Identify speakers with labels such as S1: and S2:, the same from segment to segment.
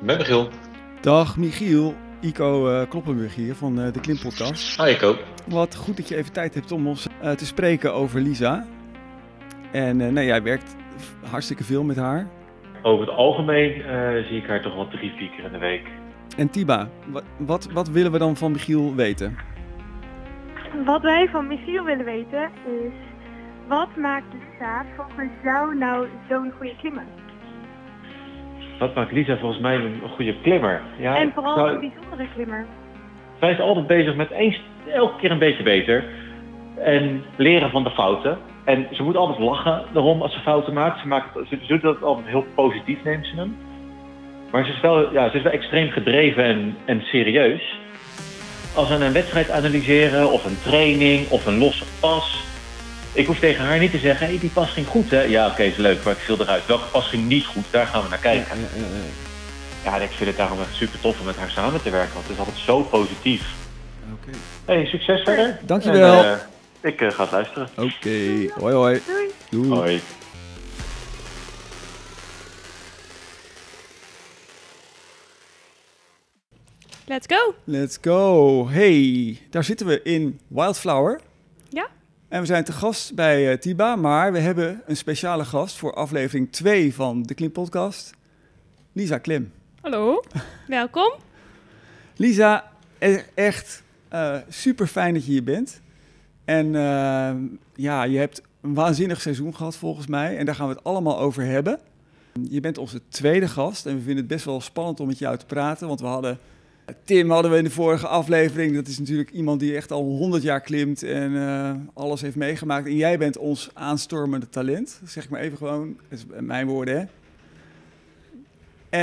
S1: Met Michiel.
S2: Dag Michiel, Ico eh, Kloppenburg hier van eh, de Klimpodcast.
S1: Hi, Ico.
S2: Wat goed dat je even tijd hebt om ons eh, te spreken over Lisa. En eh, nou, jij werkt f- hartstikke veel met haar.
S3: Over het algemeen eh, zie ik haar toch wel drie, vier keer in de week.
S2: En Tiba, wat, wat, wat willen we dan van Michiel weten?
S4: Wat wij van Michiel willen weten is, wat maakt Lisa volgens jou nou zo'n goede klimmer?
S3: Wat maakt Lisa volgens mij een goede klimmer? Ja,
S4: en vooral
S3: nou,
S4: een bijzondere klimmer.
S3: zij is altijd bezig met eens, elke keer een beetje beter. En leren van de fouten. En ze moet altijd lachen daarom als ze fouten maakt. Ze, maakt, ze, ze doet dat altijd heel positief, neemt ze hem. Maar ze is wel, ja, ze is wel extreem gedreven en, en serieus. Als we een wedstrijd analyseren, of een training, of een losse pas. Ik hoef tegen haar niet te zeggen, hey, die pas ging goed hè. Ja, oké, is leuk, maar ik viel eruit. Welke pas ging niet goed? Daar gaan we naar kijken.
S2: Ja, ja, ja,
S3: Ja, en ik vind het daarom echt super tof om met haar samen te werken, want het is altijd zo positief.
S2: ja. Oké.
S3: Hey, succes verder.
S2: Dankjewel.
S3: En, eh, ik eh, ga het luisteren.
S2: Oké, hoi hoi.
S4: Doei!
S2: Doei.
S3: Hoi.
S5: Let's go!
S2: Let's go. Hey, daar zitten we in Wildflower.
S5: Ja.
S2: En we zijn te gast bij eh, Tiba, maar we hebben een speciale gast voor aflevering 2 van de Klim Podcast. Lisa Klim.
S5: Hallo. Welkom.
S2: Lisa, e- echt super fijn dat je hier bent. En eh, ja, je hebt een waanzinnig seizoen gehad volgens mij. En daar gaan we het allemaal over hebben. Je bent onze tweede gast en we vinden het best wel spannend om met jou te praten. Want we hadden Tim hadden we in de vorige aflevering. Dat is natuurlijk iemand die echt al 100 jaar klimt en eh, alles heeft meegemaakt. En jij bent ons aanstormende talent. Dat zeg ik maar even gewoon. Dat is mijn woorden, hè?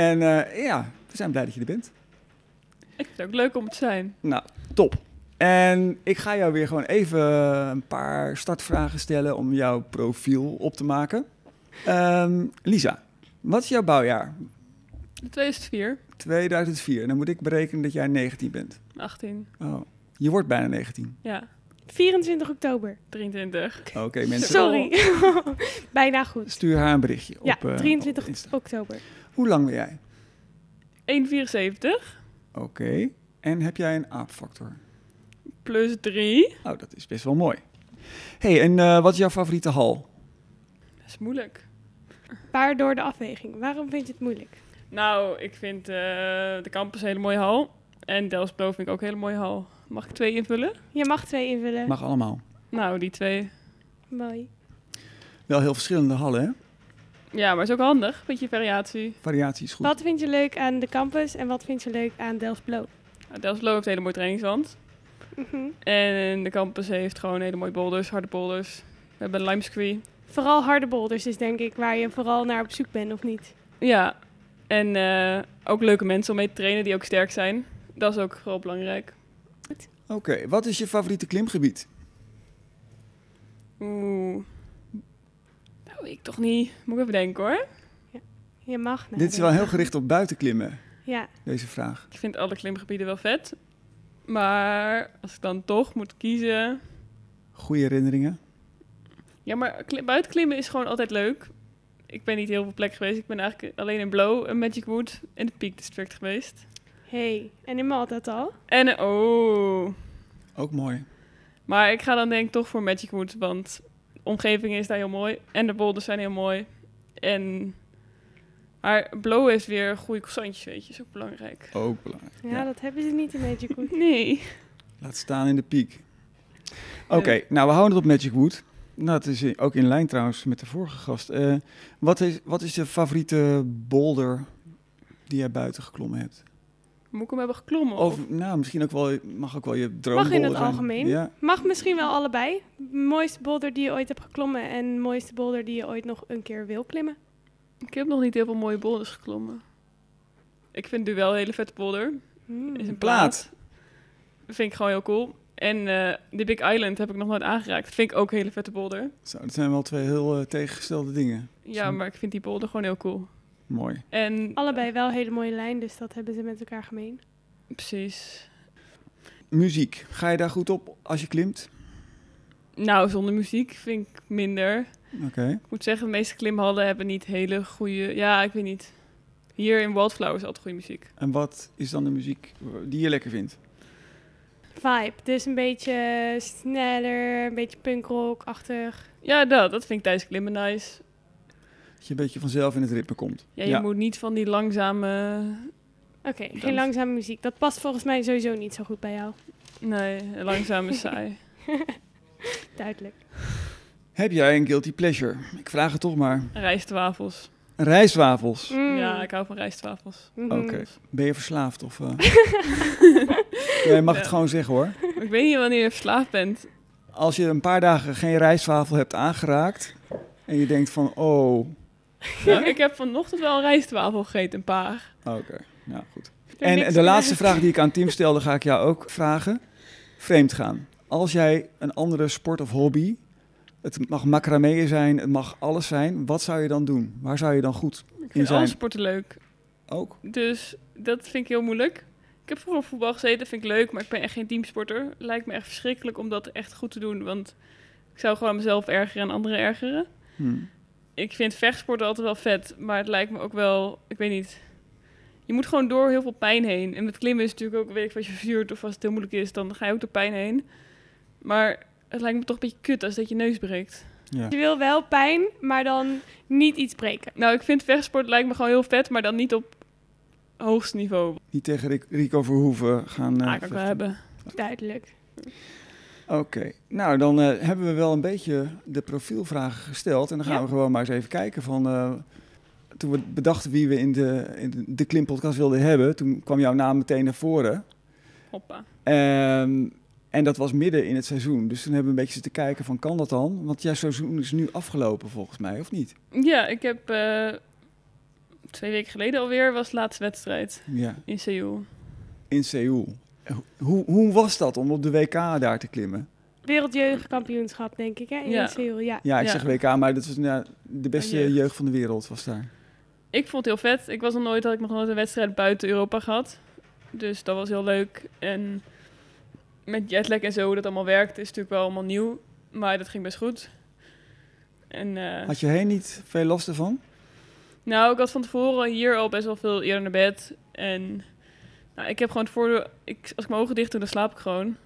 S2: En eh, ja, we zijn blij dat je er bent.
S5: Ik vind het ook leuk om te zijn.
S2: Nou, top. En ik ga jou weer gewoon even een paar startvragen stellen om jouw profiel op te maken. Ehm, Lisa, wat is jouw bouwjaar?
S5: 2004,
S2: 2004. Dan moet ik berekenen dat jij 19 bent.
S5: 18,
S2: Oh, je wordt bijna 19.
S5: ja,
S6: 24 oktober.
S5: 23.
S2: Oké, mensen.
S6: Sorry. Bijna goed.
S2: Stuur haar een berichtje.
S6: Ja,
S2: op, eh,
S6: 23
S2: op Insta.
S6: oktober.
S2: Hoe lang ben jij?
S5: 1,74
S2: Oké. En heb jij een aapfactor?
S5: plus 3.
S2: Oh, dat is best wel mooi. hey, en eh, wat is jouw favoriete hal?
S5: Dat is moeilijk.
S6: Waardoor de afweging. Waarom vind je het moeilijk?
S5: Nou, ik vind eh, de campus een hele mooie hal. En Delsbo vind ik ook een hele mooie hal. Mag ik twee invullen?
S6: Je mag twee invullen.
S2: Mag allemaal.
S5: Nou, die twee.
S6: Mooi.
S2: Wel heel verschillende hallen, hè?
S5: Ja, maar is ook handig. Beetje variatie.
S2: Variatie is goed.
S6: Wat vind je leuk aan de campus en wat vind je leuk aan Delft Blauw?
S5: Nou, Delsbo heeft een hele mooie trainingswand.
S6: Mhm.
S5: En de campus heeft gewoon hele mooie boulders, harde boulders. We hebben een limescree.
S6: Vooral harde boulders is denk ik waar je vooral naar op zoek bent of niet.
S5: Ja, en eh, ook leuke mensen om mee te trainen die ook sterk zijn. Dat is ook vooral belangrijk.
S2: Oké, wat is je favoriete klimgebied?
S5: Oeh. Nou, ik toch niet. Moet ik even denken hoor.
S6: Je mag.
S2: Dit is
S6: nadenken.
S2: wel heel gericht op buitenklimmen,
S6: Ja.
S2: deze vraag.
S5: Ik vind alle klimgebieden wel vet. Maar als ik dan toch moet kiezen.
S2: Goede herinneringen.
S5: Ja, maar kli- buitenklimmen is gewoon altijd leuk. Ik ben niet heel veel plek geweest. Ik ben eigenlijk alleen in Blow, en Magic Wood en de Peak District geweest.
S6: Hey. En in Malta dat al?
S5: En eh, oh.
S2: Ook mooi.
S5: Maar ik ga dan denk ik toch voor Magic Wood, want de omgeving is daar heel mooi. En de boulders zijn heel mooi. En... Maar Blow heeft weer goede croissantjes, weet je. is ook belangrijk.
S2: Ook belangrijk.
S6: Ja,
S2: Ja.
S6: dat hebben ze niet in Magic Wood.
S5: Nee.
S2: Laat staan in de piek. Oké, nou we houden het op Magic Wood. Nou, dat is i- ook in lijn trouwens met de vorige gast. Eh, wat, is, wat is je favoriete boulder die jij buiten geklommen hebt?
S5: Moet ik hem hebben geklommen? Of...
S2: Of nou, misschien ook wel, mag ook wel je droomboulder
S6: in het
S2: zijn.
S6: algemeen?
S2: Ja,
S6: Mag misschien wel allebei. Mooiste boulder die je ooit hebt geklommen en mooiste boulder die je ooit nog een keer wil klimmen.
S5: Ik heb nog niet heel veel mooie boulders geklommen. Ik vind Duel een hele vette boulder.
S6: Hmm.
S5: Is een
S2: plaat.
S5: plaat. Dat vind ik gewoon heel cool. En eh, de Big Island heb ik nog nooit aangeraakt. vind ik ook een hele vette boulder.
S2: Zo, dat zijn wel twee heel eh, tegengestelde dingen.
S5: Ja, maar ik vind die boulder gewoon heel cool.
S2: Mooi.
S5: En...
S6: Allebei wel hele mooie lijn, dus dat hebben ze met elkaar gemeen.
S5: Precies.
S2: Muziek, ga je daar goed op als je klimt?
S5: Nou, zonder muziek vind ik minder.
S2: Oké.
S5: Ik moet zeggen, de meeste klimhallen hebben niet hele goede... Ja, ik weet niet. Hier in Wildflower is altijd goede muziek.
S2: En wat is dan de muziek die je lekker vindt?
S6: Vibe, dus een beetje sneller, een beetje punkrock-achtig.
S5: Ja, dat, dat vind ik tijdens klimmen nice.
S2: Dat je een beetje vanzelf in het ritme komt.
S5: Ja, je moet niet van die langzame...
S6: Oké,
S5: Dat-
S6: geen langzame muziek. Dat past volgens mij sowieso niet zo goed bij jou.
S5: Nee, langzame saai.
S6: Duidelijk.
S2: Heb jij een guilty pleasure? Ik vraag het toch maar.
S5: Rijstwafels.
S2: Rijstwafels.
S6: Mm.
S5: Ja, ik hou van rijstwafels.
S6: Mhm.
S2: Oké. Ben je verslaafd of... eh? Ja, je mag het
S5: Ja.
S2: gewoon zeggen hoor.
S5: Maar Ik weet niet wanneer je verslaafd bent.
S2: Als je een paar dagen geen rijstwafel hebt aangeraakt... en je denkt van, oh...
S5: Nou, ik heb vanochtend wel een rijstwafel gegeten, een paar.
S2: Oké, nou goed.
S6: Doe niks
S2: En de
S6: aan.
S2: laatste vraag die ik aan Tim stelde, ga ik jou ook vragen. Vreemd gaan. Als jij een andere sport of hobby... het mag macramé zijn, het mag alles zijn... wat zou je dan doen? Waar zou je dan goed
S5: Ik
S2: in
S5: vind alle
S2: zijn?
S5: sporten leuk.
S2: Ook?
S5: Dus dat vind ik heel moeilijk. Ik heb vroeger op voetbal gezeten, dat vind ik leuk, maar ik ben echt geen teamsporter. Lijkt me echt verschrikkelijk om dat echt goed te doen, want ik zou gewoon mezelf ergeren en anderen ergeren.
S2: Hm.
S5: Ik vind vechtsporten altijd wel vet, maar het lijkt me ook wel, ik weet niet. Je moet gewoon door heel veel pijn heen. En met klimmen is natuurlijk ook, weet ik, als je vuurt of als het heel moeilijk is, dan ga je ook door pijn heen. Maar het lijkt me toch een beetje kut als dat je neus breekt.
S2: Ja.
S6: Je wil wel pijn, maar dan niet iets breken.
S5: Nou, ik vind vechtsport lijkt me gewoon heel vet, maar dan niet op hoogst niveau.
S2: Niet tegen Ric- Rico Verhoeven gaan... eh,
S5: Ah, kan ik wel
S2: vechten.
S5: hebben.
S6: Duidelijk.
S2: Oké, nou dan eh, hebben we wel een beetje de profielvragen gesteld. En dan gaan
S6: Ja.
S2: we gewoon maar eens even kijken van... eh, toen we bedachten wie we in de, in de- de Klimpodcast wilden hebben... toen kwam jouw naam meteen naar voren.
S5: Hoppa.
S2: Ehm, en dat was midden in het seizoen. Dus toen hebben we een beetje te kijken van kan dat dan? Want jouw seizoen is nu afgelopen volgens mij, of niet?
S5: Ja, ik heb eh, twee weken geleden alweer was de laatste wedstrijd
S2: Ja,
S5: in Seoul.
S2: in Seoul. Eh, Hoe, hoe was dat om op de WK daar te klimmen?
S6: Wereldjeugdkampioenschap, denk ik, hè? In
S5: Ja.
S6: ja. ja.
S2: Ja, ik
S5: Ja.
S2: zeg WK, maar dat was nou, de beste
S5: Jeugd.
S2: jeugd van de wereld was daar.
S5: Ik vond het heel vet. Ik was nog nooit, had ik nog nooit een wedstrijd buiten Europa gehad. Dus dat was heel leuk. En met jetlag en zo, hoe dat allemaal werkt, is natuurlijk wel allemaal nieuw. Maar dat ging best goed. En, eh,
S2: Had je heen niet veel last ervan?
S5: Nou, ik had van tevoren hier al best wel veel eerder naar bed. En nou, ik heb gewoon het voordeel, ik, als ik mijn ogen dicht doe, dan slaap ik gewoon.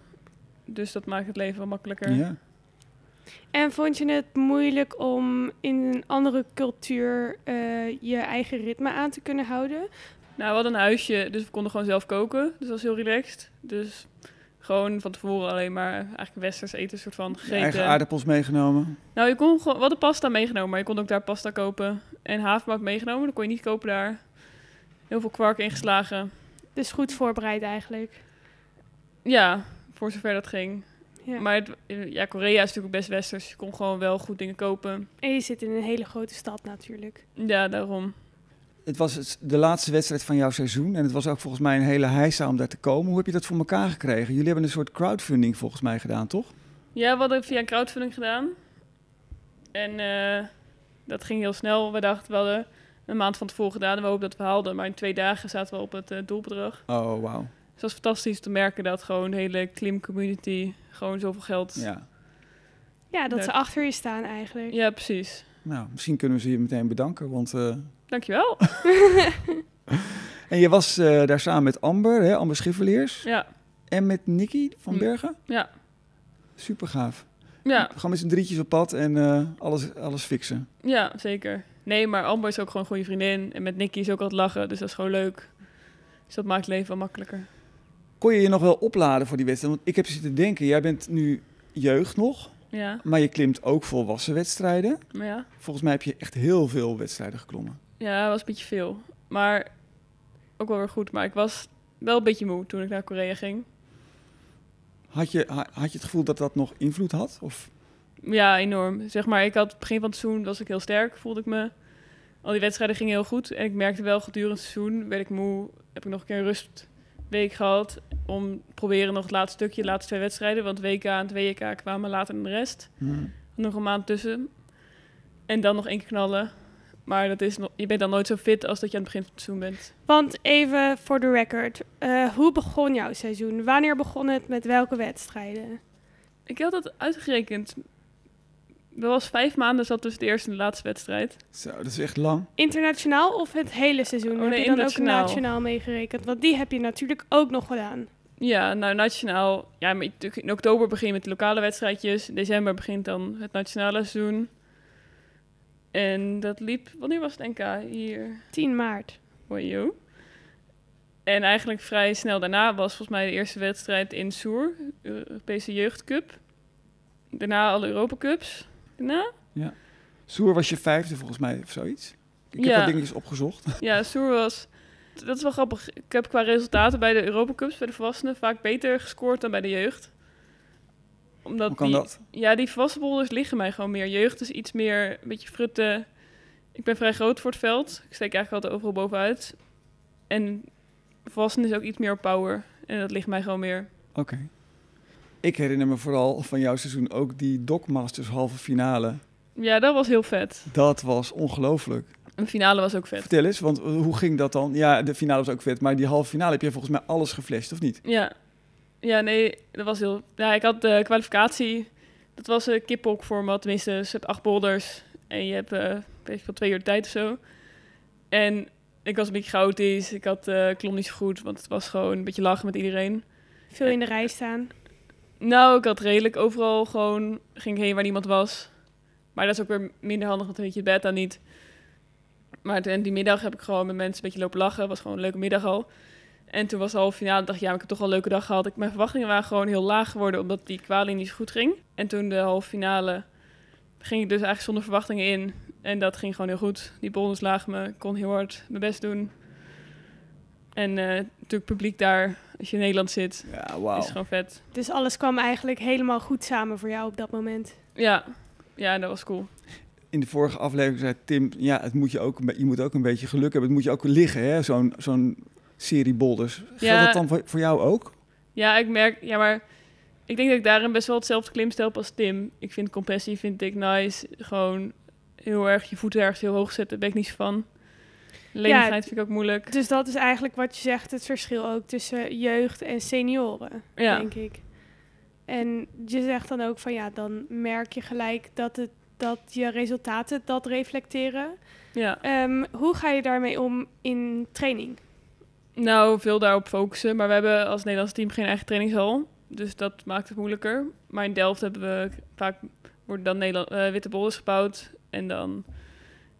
S5: Dus dat maakt het leven wel makkelijker.
S2: Ja.
S6: En vond je het moeilijk om in een andere cultuur eh, je eigen ritme aan te kunnen houden?
S5: Nou, we hadden een huisje, dus we konden gewoon zelf koken. Dus dat was heel relaxed. Dus gewoon van tevoren alleen maar eigenlijk westers eten soort van
S2: Je
S5: gegeten.
S2: eigen aardappels meegenomen.
S5: Nou, je kon gewoon, we hadden pasta meegenomen, maar je kon ook daar pasta kopen. En havermout meegenomen, dat kon je niet kopen daar. Heel veel kwark ingeslagen.
S6: Dus goed voorbereid eigenlijk.
S5: Ja, voor zover dat ging.
S6: Ja.
S5: Maar het, ja, Korea is natuurlijk best westers. Je kon gewoon wel goed dingen kopen.
S6: En je zit in een hele grote stad natuurlijk.
S5: Ja, daarom.
S2: Het was het- de laatste wedstrijd van jouw seizoen. En het was ook volgens mij een hele heisa om daar te komen. Hoe heb je dat voor elkaar gekregen? Jullie hebben een soort crowdfunding volgens mij gedaan, toch?
S5: Ja, we hadden via een crowdfunding gedaan. En eh, dat ging heel snel. We dachten, we hadden een maand van tevoren gedaan en we hoopten dat we haalden. Maar in twee dagen zaten we op het eh, doelbedrag.
S2: Oh, wauw.
S5: Dus dat was fantastisch te merken dat gewoon de hele klimcommunity gewoon zoveel geld... Ja,
S2: Ja.
S6: Ja, dat ze
S5: Leuk.
S6: achter je staan eigenlijk.
S5: precies.
S2: Nou, misschien kunnen we ze je meteen bedanken. Want, eh,
S5: Dankjewel.
S2: En je was eh, daar samen met Amber, hè, Amber Schiffeliers.
S5: ja,
S2: En met Nicky van
S5: Hm.
S2: Bergen.
S5: Ja.
S2: Super gaaf.
S5: ja,
S2: Gewoon met z'n drietjes op pad en eh, alles, alles fixen.
S5: ja, zeker. Nee, maar Amber is ook gewoon een goede vriendin. En met Nicky is ook altijd lachen, dus dat is gewoon leuk. Dus dat maakt het leven wel makkelijker.
S2: Kon je je nog wel opladen voor die wedstrijd? Want ik heb zitten denken, jij bent nu jeugd nog.
S5: Ja,
S2: Maar je klimt ook volwassen wedstrijden.
S5: maar ja.
S2: Volgens mij heb je echt heel veel wedstrijden geklommen.
S5: Ja, was een beetje veel. Maar ook wel weer goed. Maar ik was wel een beetje moe toen ik naar Korea ging.
S2: Had je, ha- had je het gevoel dat dat nog invloed had? Of
S5: Ja, enorm. Zeg maar, ik had begin van het seizoen was ik heel sterk, voelde ik me. Al die wedstrijden gingen heel goed. En ik merkte wel gedurende het seizoen werd ik moe. Heb ik nog een keer een rustweek gehad. Om te proberen nog het laatste stukje, de laatste twee wedstrijden. Want WK en het WK kwamen later dan de rest.
S2: hmm,
S5: Nog een maand tussen. En dan nog één keer knallen. Maar dat is nog, je bent dan nooit zo fit als dat je aan het begin van het seizoen bent.
S6: Want even voor de record, eh, hoe begon jouw seizoen? Wanneer begon het met welke wedstrijden?
S5: Ik had dat uitgerekend. Er was vijf maanden zat tussen de eerste en de laatste wedstrijd.
S2: Zo, dat is echt lang.
S6: Internationaal of het hele seizoen?
S5: Oh,
S6: heb
S5: nee,
S6: je dan ook
S5: internationaal.
S6: nationaal meegerekend? Want die heb je natuurlijk ook nog gedaan.
S5: Ja, nou nationaal. Ja, maar natuurlijk in oktober begin je met de lokale wedstrijdjes. In december begint dan het nationale seizoen. En dat liep. Wanneer was het NK? Hier.
S6: 10 maart.
S5: Wajo. En eigenlijk vrij snel daarna was volgens mij de eerste wedstrijd in Soer, Europese Jeugdcup. Daarna alle Europacups. Daarna?
S2: Soer was je vijfde volgens mij of zoiets. Ik heb
S5: Ja.
S2: dat dingetjes opgezocht.
S5: Ja, Soer was. Dat is wel grappig. Ik heb qua resultaten bij de Europacups, bij de volwassenen, vaak beter gescoord dan bij de jeugd. Omdat
S2: Hoe kan
S5: die,
S2: dat?
S5: Ja, die volwassen boulders liggen mij gewoon meer. Jeugd is iets meer, een beetje frutten. Ik ben vrij groot voor het veld. Ik steek eigenlijk altijd overal bovenuit. En volwassen is ook iets meer power. En dat ligt mij gewoon meer.
S2: Oké. Ik herinner me vooral van jouw seizoen ook die Docmasters halve finale.
S5: Ja, dat was heel vet.
S2: Dat was ongelooflijk.
S5: Een finale was ook vet.
S2: Vertel eens, want eh, hoe ging dat dan? Ja, de finale was ook vet, maar die halve finale heb je volgens mij alles geflasht, of niet?
S5: Ja. Ja, nee, dat was heel... Ja, ik had de kwalificatie. Dat was een kiphok format. Tenminste, dus je hebt acht boulders. En je hebt, eh weet ik wel, twee uur tijd of zo. En ik was een beetje chaotisch. Ik had, eh klom niet zo goed, want het was gewoon een beetje lachen met iedereen.
S6: Veel in de rij staan.
S5: Nou, ik had redelijk overal gewoon... Ging ik heen waar niemand was. Maar dat is ook weer minder handig, want dan weet je het bed dan niet. Maar toen, die middag heb ik gewoon met mensen een beetje lopen lachen. was gewoon een leuke middag al. En toen was de halve finale. dacht ik, ja, maar ik heb toch wel een leuke dag gehad. Ik, mijn verwachtingen waren gewoon heel laag geworden, omdat die kwaling niet zo goed ging. En toen de halve finale ging ik dus eigenlijk zonder verwachtingen in. En dat ging gewoon heel goed. Die bonus lagen me. Ik kon heel hard mijn best doen. En eh, natuurlijk publiek daar, als je in Nederland zit,
S2: Ja, wauw.
S5: is gewoon vet.
S6: Dus alles kwam eigenlijk helemaal goed samen voor jou op dat moment.
S5: Ja, ja dat was cool.
S2: In de vorige aflevering zei Tim, ja, het moet je, ook, een be- je moet ook een beetje geluk hebben. Het moet je ook liggen, hè, zo'n zo'n serie boulders. Geldt
S5: Ja.
S2: dat dan voor, voor jou ook?
S5: Ja, ik merk, ja, maar ik denk dat ik daarin best wel hetzelfde klimstijl heb als Tim. Ik vind compressie vind ik nice. Gewoon heel erg je voeten ergens heel hoog zetten, ben ik niet zo van. Lenigheid vind ik ook moeilijk.
S6: Dus dat is eigenlijk wat je zegt, het verschil ook tussen jeugd en senioren,
S5: Ja.
S6: denk ik. En je zegt dan ook van ja, dan merk je gelijk dat, het, dat je resultaten dat reflecteren.
S5: Ja.
S6: Ehm, hoe ga je daarmee om in training?
S5: Nou, veel daarop focussen. Maar we hebben als Nederlands team geen eigen trainingshal. Dus dat maakt het moeilijker. Maar in Delft hebben we vaak worden dan Nederland, eh, witte bollens gebouwd. En dan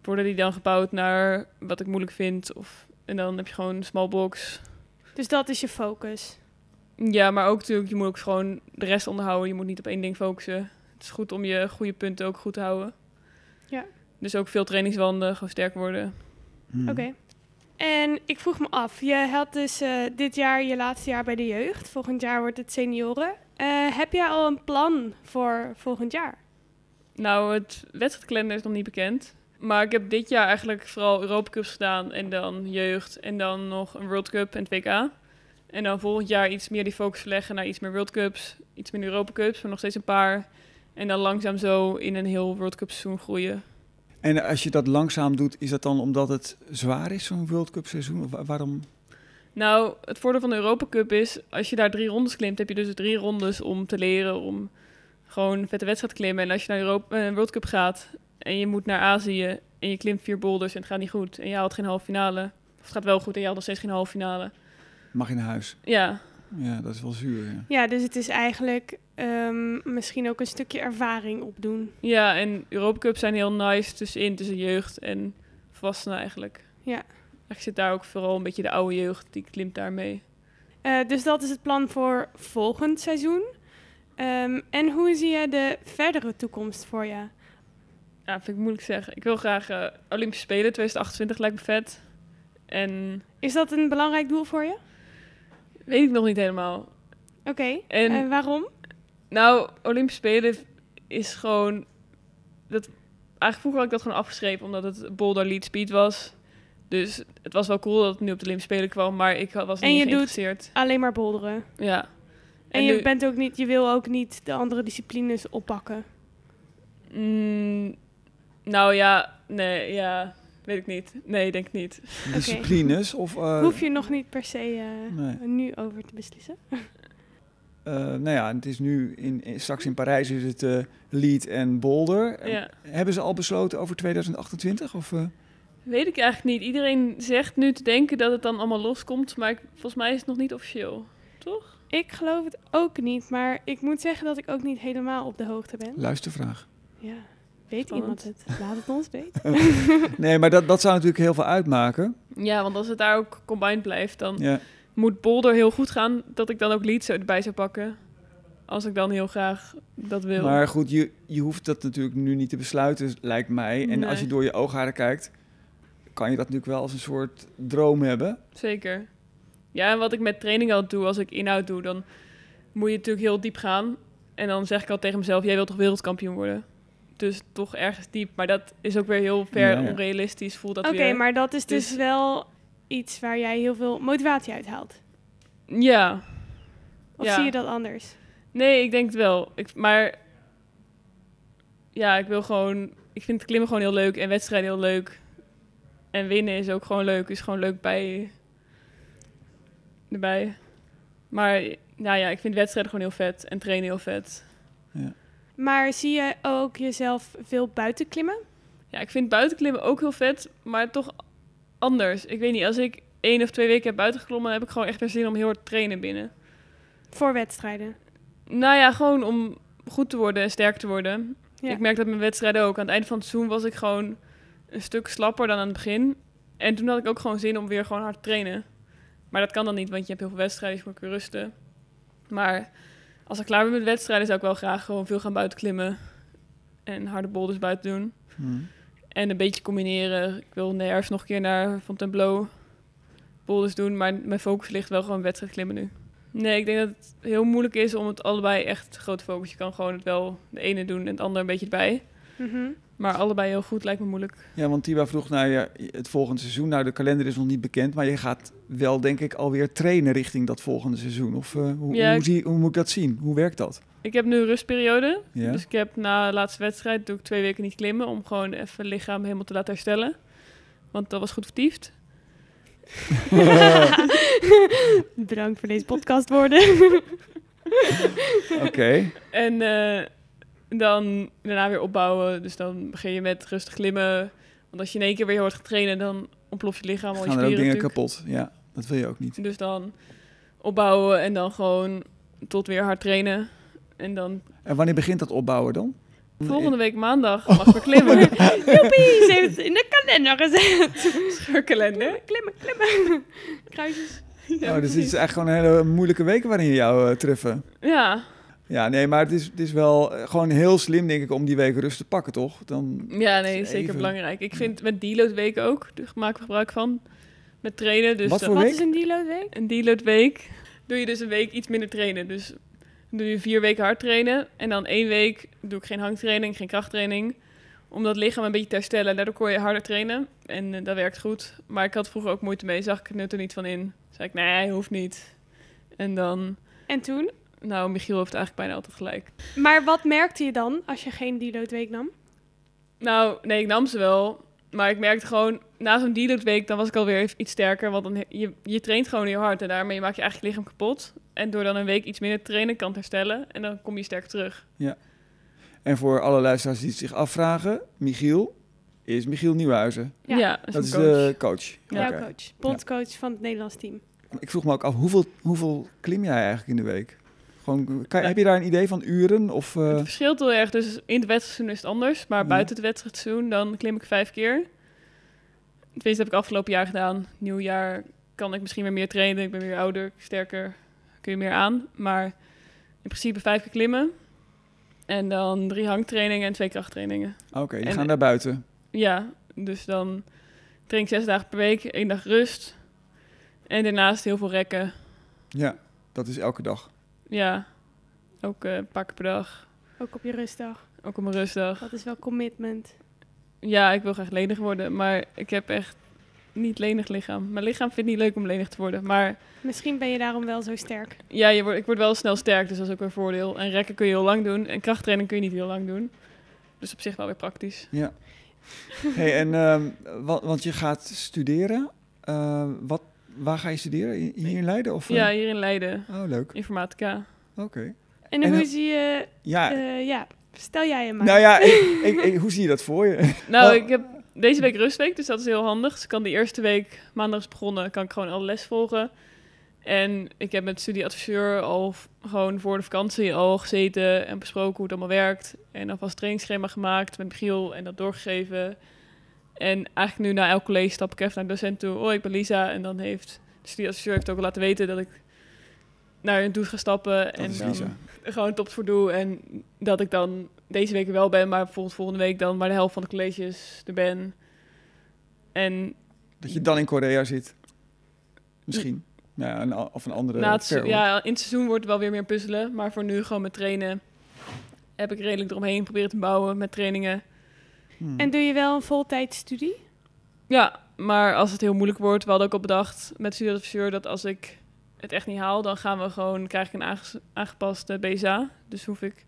S5: worden die dan gebouwd naar wat ik moeilijk vind. Of, en dan heb je gewoon een small box.
S6: Dus dat is je focus.
S5: Ja, maar ook natuurlijk, je moet ook gewoon de rest onderhouden. Je moet niet op één ding focussen. Het is goed om je goede punten ook goed te houden.
S6: Ja.
S5: Dus ook veel trainingswanden, gewoon sterk worden.
S2: Hmm.
S6: Hm. Oké. En ik vroeg me af, je had dus eh, dit jaar je laatste jaar bij de jeugd. Volgend jaar wordt het senioren. Eh, heb jij al een plan voor volgend jaar?
S5: Nou, het wedstrijdkalender is nog niet bekend. Maar ik heb dit jaar eigenlijk vooral Europa Cups gedaan en dan jeugd en dan nog een World Cup en het WK. En dan volgend jaar iets meer die focus verleggen naar iets meer World Cups, iets minder Europa Cups, maar nog steeds een paar. En dan langzaam zo in een heel World Cup seizoen groeien.
S2: En als je dat langzaam doet, is dat dan omdat het zwaar is, zo'n World Cup seizoen? Of wa- waarom?
S5: Nou, het voordeel van de Europa Cup is, als je daar drie rondes klimt, heb je dus drie rondes om te leren, om gewoon een vette wedstrijd te klimmen. En als je naar Europa, eh, World Cup gaat en je moet naar Azië en je klimt vier boulders en het gaat niet goed en je haalt geen halve finale, of het gaat wel goed en je haalt nog steeds geen halve finale.
S2: Mag je naar huis?
S5: Ja,
S2: Ja, dat is wel zuur, ja.
S6: Ja, dus het is eigenlijk ehm, misschien ook een stukje ervaring opdoen.
S5: ja en Europa Cup zijn heel nice tussenin, tussen jeugd en volwassenen eigenlijk.
S6: Ja.
S5: Eigenlijk zit daar ook vooral een beetje de oude jeugd, die klimt daarmee.
S6: Eh, dus dat is het plan voor volgend seizoen. Ehm, en hoe zie je de verdere toekomst voor je?
S5: Ja, vind ik moeilijk te zeggen. Ik wil graag eh, Olympische Spelen 2028 lijkt me vet. En
S6: Is dat een belangrijk doel voor je?
S5: Weet ik nog niet helemaal.
S6: Oké.
S5: En-
S6: En waarom?
S5: Nou, Olympische Spelen is gewoon... Dat, eigenlijk vroeger had ik dat gewoon afgeschreven, omdat het boulder lead speed was. Dus het was wel cool dat het nu op de Olympische Spelen kwam, maar ik was niet
S6: En je doet-
S5: geïnteresseerd.
S6: Alleen maar bolderen.
S5: Ja.
S6: En,
S5: En
S6: je,
S5: nu-
S6: bent ook niet, je wil ook niet de andere disciplines oppakken.
S5: Mm, nou ja, nee, ja, weet ik niet. Nee, denk ik niet.
S2: Disciplines of... eh,
S6: Hoef je nog niet per se eh,
S2: Nee.
S6: nu over te beslissen.
S2: eh, nou ja, het is nu in, in- straks in Parijs is het eh Lead en Boulder.
S5: Ja.
S2: Hebben ze al besloten over 2028? Of, eh?
S5: Weet ik eigenlijk niet. Iedereen zegt nu te denken dat het dan allemaal loskomt, maar ik- volgens mij is het nog niet officieel. Toch?
S6: Ik geloof het ook niet, maar ik moet zeggen dat ik ook niet helemaal op de hoogte ben.
S2: Luistervraag.
S6: Ja, weet
S5: Spannend.
S6: iemand het? Laat het ons weten.
S2: Nee, maar dat, dat zou natuurlijk heel veel uitmaken.
S5: Ja, want als het daar ook combined blijft, dan
S2: Ja.
S5: moet Boulder heel goed gaan dat ik dan ook Leeds erbij zou pakken. Als ik dan heel graag dat wil.
S2: Maar goed, je, je hoeft dat natuurlijk nu niet te besluiten, lijkt mij. En als
S5: Nee.
S2: je door je oogharen kijkt, kan je dat natuurlijk wel als een soort droom hebben.
S5: Zeker. Ja, en wat ik met training al doe, als ik inhoud doe, dan moet je natuurlijk heel diep gaan. En dan zeg ik al tegen mezelf, jij wilt toch wereldkampioen worden? Dus toch ergens diep. Maar dat is ook weer heel ver
S2: Ja.
S5: onrealistisch. Voel dat
S6: Oké,
S5: weer.
S6: maar dat is dus
S5: Dus-
S6: wel iets waar jij heel veel motivatie uit haalt.
S5: Ja.
S6: Of
S5: Ja.
S6: zie je dat anders?
S5: Nee, ik denk het wel. Ik, maar ja, ik wil gewoon... Ik vind klimmen gewoon heel leuk en wedstrijden heel leuk. En winnen is ook gewoon leuk. Is gewoon leuk bij... Erbij. Maar nou ja, ik vind wedstrijden gewoon heel vet. En trainen heel vet.
S6: Maar zie je ook jezelf veel buiten klimmen?
S5: Ja, ik vind buitenklimmen ook heel vet, maar toch anders. Ik weet niet, als ik één of twee weken heb buitengeklommen, heb ik gewoon echt weer zin om heel hard te trainen binnen.
S6: Voor wedstrijden?
S5: Nou ja, gewoon om goed te worden en sterk te worden.
S6: Ja.
S5: Ik merk dat mijn wedstrijden ook. Aan het eind van het seizoen was ik gewoon een stuk slapper dan aan het begin. En toen had ik ook gewoon zin om weer gewoon hard te trainen. Maar dat kan dan niet, want je hebt heel veel wedstrijden, dus je moet ook weer rusten. Maar als ik klaar ben met wedstrijden, zou ik wel graag gewoon veel gaan buitenklimmen. En harde boulders buiten doen. En een beetje combineren. Ik wil in de herfst nog een keer naar Fontainebleau boulders doen. Maar mijn focus ligt wel gewoon wedstrijd klimmen nu. Nee, ik denk dat het heel moeilijk is om het allebei echt groot focus. Je kan gewoon het wel de ene doen en het andere een beetje erbij.
S6: Mhm.
S5: Maar allebei heel goed lijkt me moeilijk.
S2: Ja, want Tiba vroeg naar je, het volgende seizoen. Nou, de kalender is nog niet bekend, maar je gaat wel, denk ik, alweer trainen richting dat volgende seizoen. Of eh, hoe,
S5: Ja,
S2: hoe,
S5: ik-
S2: zie, hoe moet ik dat zien? Hoe werkt dat?
S5: Ik heb nu een rustperiode.
S2: Ja,
S5: Dus ik heb na de laatste wedstrijd doe ik twee weken niet klimmen. Om gewoon even het lichaam helemaal te laten herstellen. Want dat was goed vertiefd.
S6: Bedankt voor deze podcast worden.
S2: oké.
S5: En eh, dan daarna weer opbouwen. Dus dan begin je met rustig klimmen. Want als je in één keer weer heel hard gaat trainen, dan ontploft je lichaam al je
S2: Gaan er
S5: spieren
S2: ook dingen
S5: natuurlijk.
S2: kapot? Ja, dat wil je ook niet.
S5: Dus dan opbouwen en dan gewoon tot weer hard trainen. En dan
S2: En wanneer begint dat opbouwen dan?
S5: volgende week maandag mag ik weer klimmen.
S2: Oh,
S6: Joepie, ze heeft het in de kalender gezet.
S5: Scheurkalender.
S6: Klimmen, klimmen. Kruisjes.
S5: Ja,
S2: oh, dus het
S5: precies.
S2: is echt gewoon een hele moeilijke week waarin je jou eh, treffen.
S5: ja.
S2: Ja, nee, maar het is, het is wel eh, gewoon heel slim, denk ik, om die week rust te pakken, toch? Dan,
S5: ja, nee, zeker
S2: Even.
S5: belangrijk. Ik vind met deload week ook, daar maken we gebruik van. Met trainen. Dus
S2: Wat
S5: dan-
S2: voor
S6: Wat
S2: week?
S6: is een deload week?
S5: een deload week doe je dus een week iets minder trainen. Dus dan doe je vier weken hard trainen en dan één week doe ik geen hangtraining, geen krachttraining. Om dat lichaam een beetje te herstellen. Daardoor kon je harder trainen en eh, dat werkt goed. Maar ik had vroeger ook moeite mee, zag ik het nut er niet van in. Zei ik, nee, hoeft niet. En dan,
S6: En toen?
S5: nou, Michiel heeft eigenlijk bijna altijd gelijk.
S6: Maar wat merkte je dan als je geen deload week nam?
S5: Nou, nee, ik nam ze wel. Maar ik merkte gewoon, na zo'n deload week, dan was ik alweer even iets sterker. Want dan, he- je, je traint gewoon heel hard en daarmee maak je eigenlijk je lichaam kapot. En door dan een week iets minder te trainen, kan het herstellen. En dan kom je sterk terug.
S2: en voor alle luisteraars die het zich afvragen, Michiel is Michiel Nieuwhuizen.
S6: Ja,
S5: Ja,
S2: dat is eh,
S5: mijn coach.
S2: de coach.
S5: Ja,
S2: Oké.
S6: Jouw coach, bondcoach van het Nederlands team.
S2: Ik vroeg me ook af, hoeveel, hoeveel klim jij eigenlijk in de week? Gewoon, kan, heb je daar een idee van uren? Of, eh,
S5: Het verschilt heel erg. Dus in het wedstrijdseizoen is het anders. Maar
S2: Ja.
S5: buiten het wedstrijdseizoen, dan klim ik vijf keer. Tenminste, heb ik afgelopen jaar gedaan. Nieuwjaar kan ik misschien weer meer trainen. Ik ben weer ouder, sterker. Kun je meer aan. Maar in principe vijf keer klimmen. En dan drie hangtrainingen en twee krachttrainingen.
S2: Ah, Oké, die
S5: en-
S2: gaan naar buiten.
S5: Ja, dus dan train ik zes dagen per week. één dag rust. En daarnaast heel veel rekken.
S2: Ja, dat is elke dag.
S5: Ja, ook eh, een paar keer per dag.
S6: Ook op je rustdag.
S5: Ook op mijn rustdag.
S6: Dat is wel commitment.
S5: Ja, ik wil graag lenig worden, maar ik heb echt niet lenig lichaam. Mijn lichaam vindt het niet leuk om lenig te worden. Maar
S6: Misschien ben je daarom wel zo sterk.
S5: ja, je wordt, ik word wel snel sterk, dus dat is ook weer een voordeel. En rekken kun je heel lang doen en krachttraining kun je niet heel lang doen. Dus op zich wel weer praktisch.
S2: Hey, en, ehm, wa- want je gaat studeren. Eh, wat, waar ga je studeren? Hi- Hier in Leiden? Of, eh?
S5: Ja, hier in Leiden,
S2: Oh, leuk.
S5: informatica.
S2: Oké. Oké.
S6: En,
S2: En
S6: hoe
S2: hoe-
S6: zie je...
S2: Ja,
S6: eh, ja, stel jij hem maar.
S2: nou ja, ik, ik, ik- hoe zie je dat voor je?
S5: Nou,
S2: Oh.
S5: ik heb deze week rustweek, dus dat is heel handig. Dus ik kan de eerste week, maandag is begonnen, kan ik gewoon alle les volgen. En ik heb met studieadviseur al v- gewoon voor de vakantie al gezeten en besproken hoe het allemaal werkt. En alvast trainingsschema gemaakt met Michiel en dat doorgegeven. En eigenlijk nu na elk college stap ik even naar de docent toe. Oh, ik ben Lisa. En dan heeft de studieadviseur heeft ook al laten weten dat ik naar hun toe ga stappen.
S2: Dat
S5: en
S2: is
S5: dan-
S2: Lisa.
S5: gewoon tops voor doe. En dat ik dan deze week er wel ben, maar bijvoorbeeld volgende week dan maar de helft van de colleges er ben. En
S2: Dat je dan in Korea zit. Misschien. Nou Ja, een, a- of een andere
S5: na het, se-
S2: ver-
S5: ja, in het seizoen wordt het wel weer meer puzzelen. Maar voor nu gewoon met trainen heb ik redelijk eromheen proberen te bouwen met trainingen.
S2: Hmm.
S6: En doe je wel een voltijdstudie?
S5: Ja, maar als het heel moeilijk wordt, we hadden ook al bedacht met studieadviseur dat als ik het echt niet haal, dan gaan we gewoon, krijg ik een aange- aangepaste BSA. Dus hoef ik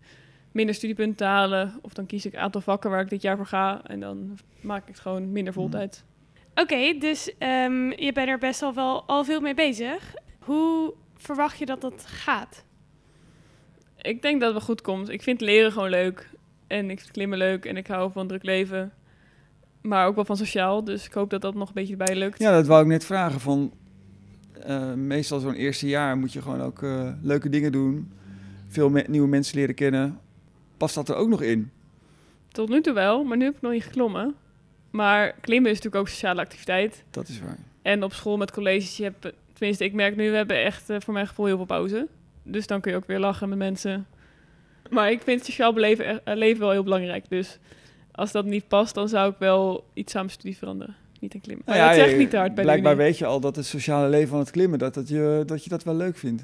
S5: minder studiepunten te halen. Of dan kies ik een aantal vakken waar ik dit jaar voor ga. En dan maak ik het gewoon minder voltijd.
S6: Oké, dus ehm, je bent er best al wel al veel mee bezig. Hoe verwacht je dat dat gaat?
S5: Ik denk dat het wel goed komt. Ik vind leren gewoon leuk. En ik vind klimmen leuk. En ik hou van druk leven. Maar ook wel van sociaal. Dus ik hoop dat dat nog een beetje bij lukt.
S2: Ja, dat wou ik net vragen. Van, eh, meestal zo'n eerste jaar moet je gewoon ook eh, leuke dingen doen. Veel me- nieuwe mensen leren kennen. Past dat er ook nog in?
S5: Tot nu toe wel. Maar nu heb ik nog niet geklommen. Maar klimmen is natuurlijk ook sociale activiteit.
S2: Dat is waar.
S5: En op school met colleges. Je hebt, tenminste, ik merk nu. We hebben echt eh, voor mijn gevoel heel veel pauze. Dus dan kun je ook weer lachen met mensen. Maar ik vind sociaal beleven, eh, leven wel heel belangrijk. Dus als dat niet past, dan zou ik wel iets aan mijn studie veranderen. Niet aan klimmen. Maar
S2: Nou
S5: dat
S2: ja,
S5: zeg ik
S2: je-
S5: niet te hard bij
S2: Blijkbaar
S5: de
S2: weet je al dat het sociale leven van het klimmen, dat, dat, je, dat je dat wel leuk vindt.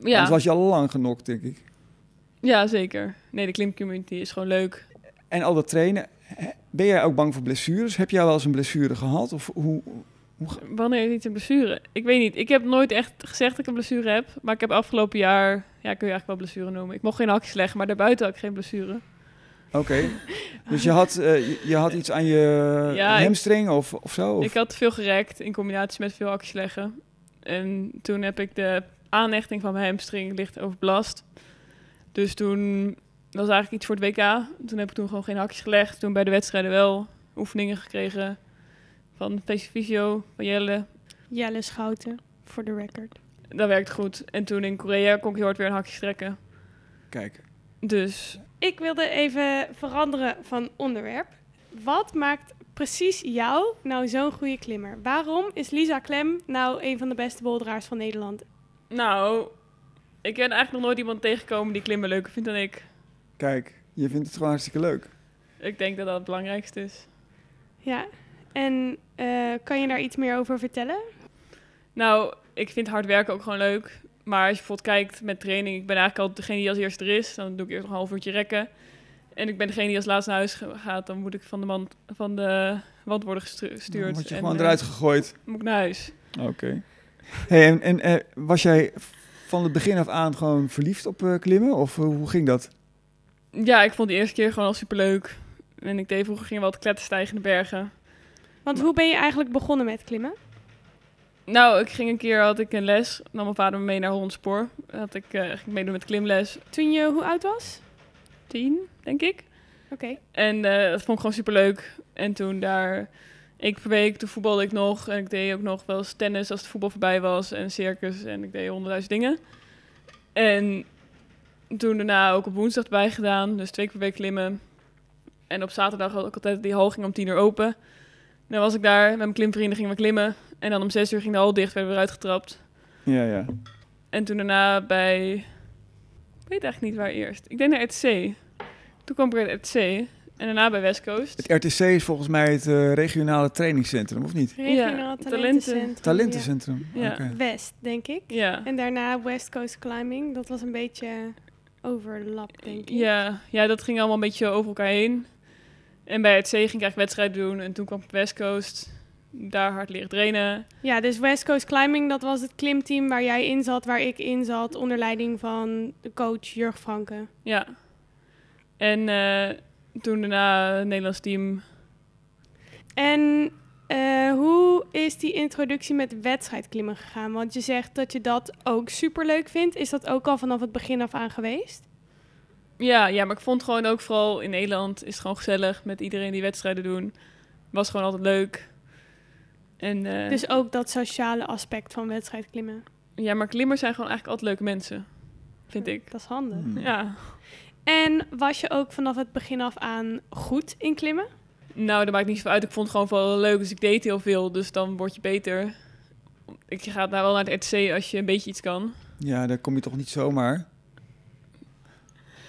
S5: unie.
S2: Anders was je al lang genokt, denk ik.
S5: Ja, zeker. Nee, de klimcommunity is gewoon leuk.
S2: En al dat trainen. hè, Ben jij ook bang voor blessures? Heb jij wel eens een blessure gehad? Of hoe?
S5: Wanneer heeft iets een blessure? Ik weet niet. Ik heb nooit echt gezegd dat ik een blessure heb. Maar ik heb afgelopen jaar... Ja, kun je eigenlijk wel blessure noemen. Ik mocht geen hakjes leggen, maar daarbuiten had ik geen blessure.
S2: Oké. dus je had, eh, je, je had iets aan je
S5: Ja, ik-
S2: hamstring of, of zo? Of?
S5: Ik had te veel gerekt in combinatie met veel hakjes leggen. En toen heb ik de aanhechting van mijn hamstring licht overbelast. Dus toen dat was eigenlijk iets voor het WK. Toen heb ik toen gewoon geen hakjes gelegd. Toen bij de wedstrijden wel oefeningen gekregen van Pesifisio, van Jelle.
S6: Jelle Schouten, voor de record.
S5: Dat werkt goed. En toen in Korea kon ik heel hard weer een hakje strekken.
S2: Kijk.
S5: Dus
S6: Ik wilde even veranderen van onderwerp. Wat maakt precies jou nou zo'n goede klimmer? Waarom is Lisa Klem nou een van de beste boulderaars van Nederland?
S5: Nou, ik ben eigenlijk nog nooit iemand tegengekomen die klimmen leuker vindt dan ik.
S2: Kijk, je vindt het gewoon hartstikke leuk.
S5: Ik denk dat dat het belangrijkste is.
S6: Ja, en eh, kan je daar iets meer over vertellen?
S5: Nou, ik vind hard werken ook gewoon leuk. Maar als je bijvoorbeeld kijkt met training, ik ben eigenlijk altijd degene die als eerste er is. Dan doe ik eerst nog een half uurtje rekken. En ik ben degene die als laatste naar huis ge- gaat. Dan moet ik van de, man, van de wand worden gestu- gestuurd.
S2: Dan word je
S5: En,
S2: gewoon
S5: eh,
S2: eruit gegooid.
S5: moet ik naar huis.
S2: Oké. Hey, en en eh, was jij van het begin af aan gewoon verliefd op eh, klimmen? Of eh, hoe ging dat?
S5: Ja, ik vond de eerste keer gewoon al superleuk. En ik deed vroeger ging wel wat kletterstijgende bergen.
S6: Want
S2: Nou.
S6: hoe ben je eigenlijk begonnen met klimmen?
S5: Nou, ik ging een keer, had ik een les, nam mijn vader me mee naar Hollandspoor. Had ik, eh, ging ik meedoen met klimles,
S6: Toen je hoe oud was?
S5: tien, denk ik.
S6: Oké.
S5: En eh, dat vond ik gewoon superleuk. En toen daar, ik per week, toen voetbalde ik nog. En ik deed ook nog wel eens tennis als het voetbal voorbij was. En circus, en ik deed honderdduizend dingen. En toen daarna ook op woensdag erbij gedaan. Dus twee keer per week klimmen. En op zaterdag had ik altijd die hal ging om tien uur open. Dan was ik daar, met mijn klimvrienden gingen we klimmen. En dan om zes uur ging de hal dicht, werden we eruit getrapt.
S2: Ja, ja.
S5: En toen daarna bij... Ik weet eigenlijk niet waar eerst. Ik denk naar RTC. Toen kwam ik bij het RTC. En daarna bij West Coast.
S2: Het RTC is volgens mij het eh, regionale trainingscentrum, of niet?
S6: Regionaal
S5: talenten.
S6: talentencentrum.
S2: Talentencentrum.
S5: Ja.
S6: Ja.
S2: Oké.
S6: West, denk ik.
S5: Ja.
S6: En daarna West Coast Climbing. Dat was een beetje overlap, denk ik.
S5: Ja, ja, dat ging allemaal een beetje over elkaar heen. En bij het C ging ik eigenlijk wedstrijden doen. En toen kwam ik op West Coast. Daar hard leren trainen.
S6: Ja, dus West Coast Climbing, dat was het klimteam waar jij in zat, waar ik in zat, onder leiding van de coach Jurg Franke.
S5: Ja. En eh, toen daarna het Nederlands team.
S6: En Eh, hoe is die introductie met wedstrijdklimmen gegaan? Want je zegt dat je dat ook superleuk vindt. Is dat ook al vanaf het begin af aan geweest?
S5: Ja, ja, maar ik vond gewoon ook vooral in Nederland is het gewoon gezellig met iedereen die wedstrijden doen. Was gewoon altijd leuk. En, eh,
S6: Dus ook dat sociale aspect van wedstrijdklimmen.
S5: Ja, maar klimmers zijn gewoon eigenlijk altijd leuke mensen. Vind ik.
S6: Dat is handig.
S2: Hmm.
S5: Ja.
S6: En was je ook vanaf het begin af aan goed in klimmen?
S5: Nou, dat maakt niet zoveel uit. Ik vond het gewoon vooral leuk. Dus ik deed heel veel. Dus dan word je beter. Ik ga daar wel naar het RTC als je een beetje iets kan.
S2: Ja, daar kom je toch niet zomaar.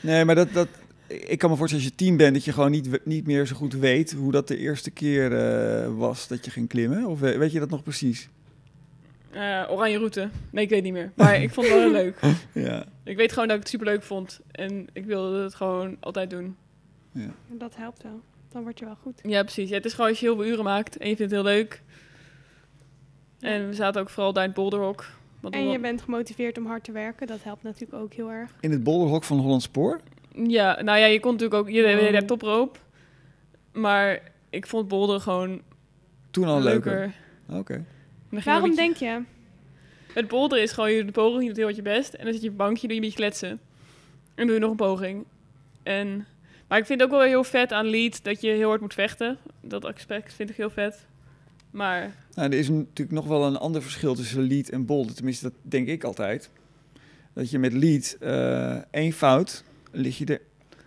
S2: Nee, maar dat, dat, ik kan me voorstellen als je tien bent dat je gewoon niet, we- niet meer zo goed weet hoe dat de eerste keer eh, was dat je ging klimmen. Of we- weet je dat nog precies?
S5: Eh, oranje route. Nee, ik weet niet meer. Maar ik vond het wel heel leuk.
S2: Ja.
S5: Ik weet gewoon dat ik het superleuk vond. En ik wilde het gewoon altijd doen.
S6: Dat helpt wel. Dan word je wel goed.
S5: Ja, precies. Ja, het is gewoon als je heel veel uren maakt en je vindt het heel leuk. En we zaten ook vooral daar in het Boulderhok. Want
S6: En
S5: we-
S6: je bent gemotiveerd om hard te werken. Dat helpt natuurlijk ook heel erg.
S2: In het bolderhok van Holland Spoor?
S5: Ja, nou ja, je kon natuurlijk ook... Je, je,
S6: Wow.
S5: hebt toproop. Maar ik vond boulderen gewoon
S2: Toen al leuker.
S5: leuker.
S2: Oké.
S5: Dan ging je
S6: Waarom
S5: een beetje-
S6: denk je?
S5: Het boulderen is gewoon, je doet een poging, je doet heel wat je best. En dan zit je op een bankje, doe je een beetje kletsen. En dan doe je nog een poging. En, maar ik vind het ook wel heel vet aan lead dat je heel hard moet vechten. Dat aspect vind ik heel vet. Maar
S2: Nou, er is natuurlijk nog wel een ander verschil tussen lead en bold. Tenminste, dat denk ik altijd. Dat je met lead eh, één fout, lig je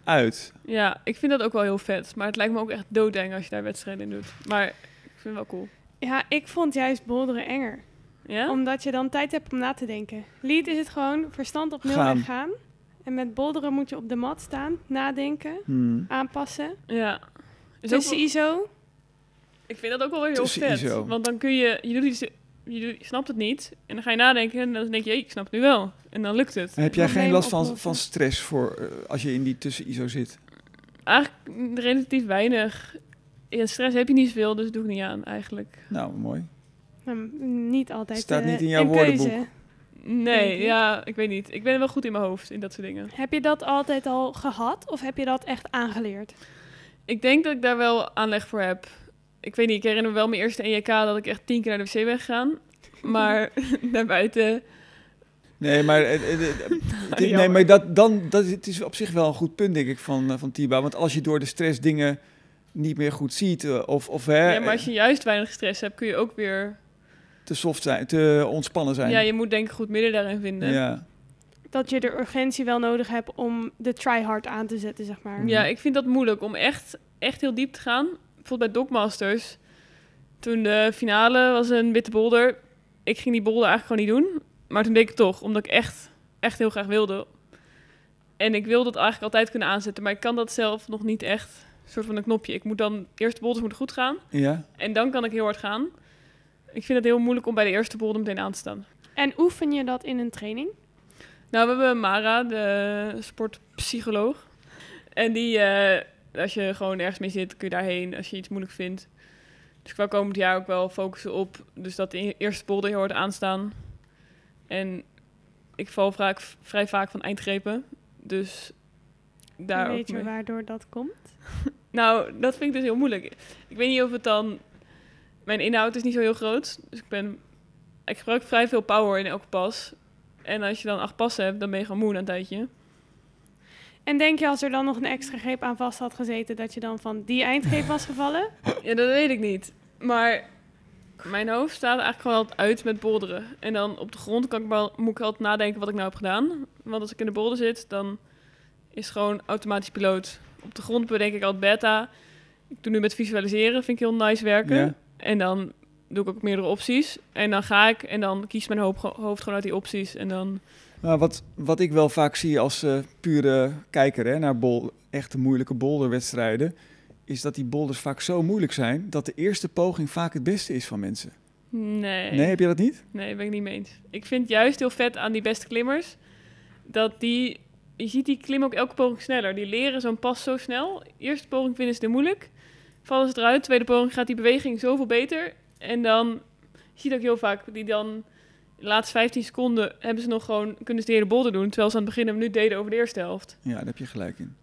S2: eruit.
S5: ja, ik vind dat ook wel heel vet. Maar het lijkt me ook echt doodeng als je daar wedstrijden in doet. Maar ik vind het wel cool.
S6: Ja, ik vond juist bolderen enger.
S2: Oh?
S5: Ja?
S6: Omdat je dan tijd hebt om na te denken. Lead is het gewoon verstand op nul
S2: Gaan.
S6: en gaan. En met bolderen moet je op de mat staan, nadenken,
S2: Hmm.
S6: aanpassen.
S5: Ja. Is ook
S6: Tussen
S5: wel-
S6: ISO.
S5: ik vind dat ook wel weer heel
S2: Tussen
S5: vet.
S2: ISO.
S5: Want dan kun je, je doet iets, je, doet, je snapt het niet. En dan ga je nadenken en dan denk je, hé, ik snap het nu wel. En dan lukt het.
S2: En heb jij geen
S6: Probleem
S2: last van,
S6: oplossen.
S2: van stress voor, eh, als je in die tussen-ISO zit?
S5: Eigenlijk mm, relatief weinig. Ja, stress heb je niet zoveel, dus doe ik niet aan eigenlijk.
S2: Nou, mooi.
S6: Nou, niet altijd.
S2: Staat
S6: eh,
S2: niet in jouw
S6: een keuze.
S2: woordenboek.
S5: Nee,
S6: Denk je?
S5: ja, ik weet niet. Ik ben wel goed in mijn hoofd in dat soort dingen.
S6: Heb je dat altijd al gehad of heb je dat echt aangeleerd?
S5: Ik denk dat ik daar wel aanleg voor heb. Ik weet niet, ik herinner me wel mijn eerste EJK dat ik echt tien keer naar de wc ben gegaan. Maar daarbuiten...
S2: Nee, maar, eh, eh, eh, dit- nee,
S5: Nou, jammer.
S2: maar dat, dan, dat, het is op zich wel een goed punt, denk ik, van, eh, van Tiba. Want als je door de stress dingen niet meer goed ziet, eh, of, of hè,
S5: Ja, maar als je juist weinig stress hebt, kun je ook weer...
S2: te soft zijn, te ontspannen zijn.
S5: Ja, je moet denk ik goed midden daarin vinden. Ja,
S2: Ja.
S6: Dat je de urgentie wel nodig hebt om de try-hard aan te zetten, zeg maar.
S5: ik vind dat moeilijk om echt, echt heel diep te gaan. Bijvoorbeeld bij Dogmasters. Toen de finale was een witte bolder. Ik ging die bolder eigenlijk gewoon niet doen. Maar toen deed ik het toch, omdat ik echt, echt heel graag wilde. En ik wil dat eigenlijk altijd kunnen aanzetten. Maar ik kan dat zelf nog niet echt. Een soort van een knopje. Ik moet dan, eerst de bolders moeten goed gaan.
S2: ja.
S5: En dan kan ik heel hard gaan. Ik vind het heel moeilijk om bij de eerste bolder meteen aan te staan.
S6: En oefen je dat in een training?
S5: Nou, we hebben Mara, de sportpsycholoog. En die, eh, als je gewoon ergens mee zit, kun je daarheen als je iets moeilijk vindt. Dus ik wil komend jaar ook wel focussen op dus dat de eerste polder heel hard aanstaan. En ik val vaak, vrij vaak van eindgrepen. Dus daar
S6: Dan
S5: ook
S6: weet je
S5: mee.
S6: waardoor dat komt.
S5: Nou, dat vind ik dus heel moeilijk. Ik weet niet of het dan... Mijn inhoud is niet zo heel groot. Dus ik ben... Ik gebruik vrij veel power in elke pas. En als je dan acht passen hebt, dan ben je gewoon moe na een tijdje.
S6: En denk je als er dan nog een extra greep aan vast had gezeten, dat je dan van die eindgreep was gevallen?
S5: Ja, dat weet ik niet. Maar mijn hoofd staat eigenlijk gewoon altijd uit met bolderen. En dan op de grond kan ik wel, moet ik altijd nadenken wat ik nou heb gedaan. Want als ik in de bolder zit, dan is het gewoon automatisch piloot. Op de grond bedenk ik altijd beta. Ik doe nu met visualiseren, vind ik heel nice werken.
S2: Ja.
S5: En dan doe ik ook meerdere opties. En dan ga ik en dan kies mijn hoop- hoofd gewoon uit die opties. En dan...
S2: Maar Nou, wat, wat ik wel vaak zie als eh, pure kijker hè, naar bol, echte moeilijke boulderwedstrijden, is dat die boulders vaak zo moeilijk zijn dat de eerste poging vaak het beste is van mensen.
S5: Nee.
S2: Nee, heb je dat niet?
S5: Nee, ben ik niet mee eens. Ik vind juist heel vet aan die beste klimmers dat die. Je ziet die klimmen ook elke poging sneller. Die leren zo'n pas zo snel. Eerste poging vinden ze het moeilijk. Vallen ze eruit. Tweede poging gaat die beweging zoveel beter. En dan je ziet ook heel vaak die dan de laatste 15 seconden hebben ze nog gewoon kunnen ze de hele bolder doen. Terwijl ze aan het begin een minuut deden over de eerste helft.
S2: Ja, daar heb je gelijk in.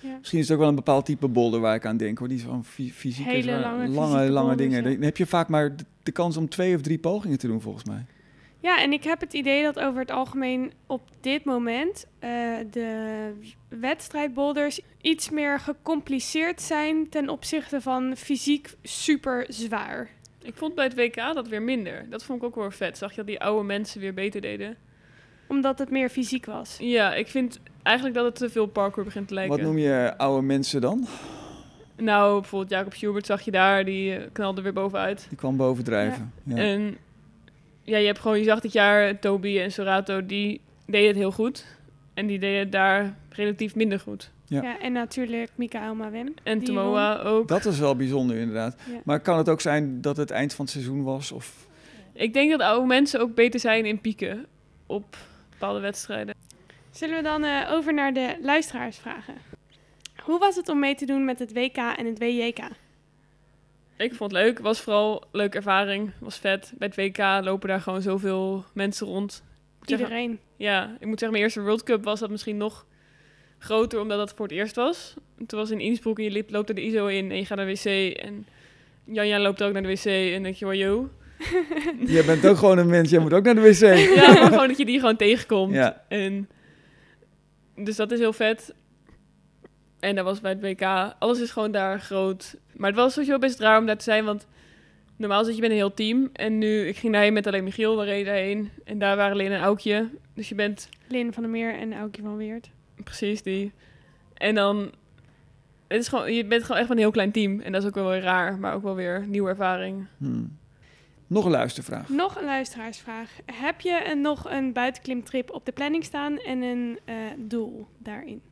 S6: Ja.
S2: Misschien is het ook wel een bepaald type bolder waar ik aan denk. Hoor. Die is van fy- fysiek. is,
S6: Hele
S2: waar-
S6: lange
S2: lange,
S6: fysieke
S2: lange
S6: boulders,
S2: dingen.
S6: ja.
S2: Dan heb je vaak maar de, de kans om twee of drie pogingen te doen, volgens mij.
S6: Ja, en ik heb het idee dat over het algemeen op dit moment eh, de wedstrijdboulders iets meer gecompliceerd zijn ten opzichte van fysiek super zwaar.
S5: Ik vond bij het WK dat weer minder. Dat vond ik ook wel vet. Zag je dat die oude mensen weer beter deden?
S6: Omdat het meer fysiek was.
S5: Ja, ik vind eigenlijk dat het te veel parkour begint te lijken.
S2: Wat noem je oude mensen dan?
S5: Nou, bijvoorbeeld Jacob Schubert zag je daar. Die eh, knalde weer bovenuit.
S2: Die kwam bovendrijven. Ja.
S6: Eh.
S5: En ja, je hebt gewoon, je zag dit jaar Toby en Sorato, die deden het heel goed. En die deden het daar relatief minder goed.
S2: Ja.
S6: Ja. en natuurlijk Mika Elma Wim.
S5: En
S6: die
S5: Tomoa ook.
S2: Dat is wel bijzonder, inderdaad.
S6: Ja.
S2: Maar kan het ook zijn dat het eind van het seizoen was? Of...
S5: Ik denk dat oude mensen ook beter zijn in pieken op bepaalde wedstrijden.
S6: Zullen we dan eh, over naar de luisteraars vragen? Hoe was het om mee te doen met het WK en het WJK?
S5: Ik vond het leuk. Was vooral een leuke ervaring. Was vet. Bij het WK lopen daar gewoon zoveel mensen rond. Ik moet zeggen-
S6: Iedereen.
S5: ja, ik moet zeggen, mijn eerste World Cup was dat misschien nog groter, omdat dat voor het eerst was. Toen was in Innsbruck en je liep- loopt er de ISO in en je gaat naar de wc. En Janja loopt ook naar de wc en dan denk je, wow, yo.
S2: Jij bent ook gewoon een mens, jij moet ook naar de wc.
S5: Ja, maar gewoon dat je die gewoon tegenkomt.
S2: Ja.
S5: En, dus dat is heel vet. En dat was bij het WK. Alles is gewoon daar groot. Maar het was sowieso best raar om daar te zijn, want normaal zit je met een heel team. En nu, ik ging daarheen met alleen Michiel, we reden daarheen. En daar waren alleen een Aukje. Dus je bent
S6: Lin van der Meer en Aukje van Weert.
S5: Precies, die. En dan... Het is gewoon, je bent gewoon echt van een heel klein team. En dat is ook wel weer raar, maar ook wel weer nieuwe ervaring.
S2: Hmm. Nog een luistervraag.
S6: Nog een luisteraarsvraag. Heb je een, nog een buitenklimtrip op de planning staan en een eh, doel daarin?